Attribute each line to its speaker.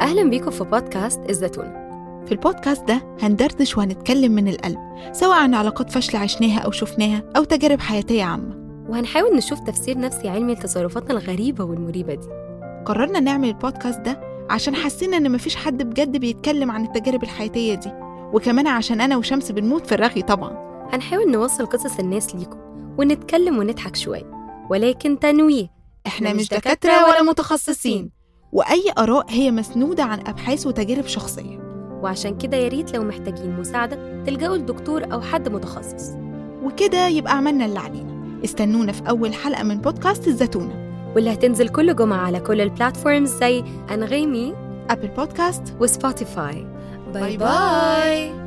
Speaker 1: أهلا بيكم في بودكاست الزيتون
Speaker 2: في البودكاست ده هندردش وهنتكلم من القلب سواء عن علاقات فاشلة عشناها أو شفناها أو تجارب حياتية عامة
Speaker 1: وهنحاول نشوف تفسير نفسي علمي لتصرفاتنا الغريبة والمريبة دي
Speaker 2: قررنا نعمل البودكاست ده عشان حسينا إن مفيش حد بجد بيتكلم عن التجارب الحياتية دي وكمان عشان أنا وشمس بنموت في الرغي طبعا
Speaker 1: هنحاول نوصل قصص الناس ليكم ونتكلم ونضحك شوية ولكن تنويه
Speaker 2: إحنا مش دكاترة ولا متخصصين وأي آراء هي مسنودة عن أبحاث وتجارب شخصية
Speaker 1: وعشان كده يا ريت لو محتاجين مساعدة تلجأوا لدكتور أو حد متخصص
Speaker 2: وكده يبقى عملنا اللي علينا استنونا في أول حلقة من بودكاست الزتونة
Speaker 1: واللي هتنزل كل جمعة على كل البلاتفورمز زي أنغامي
Speaker 2: أبل بودكاست
Speaker 1: وسبوتيفاي
Speaker 2: باي باي.
Speaker 1: باي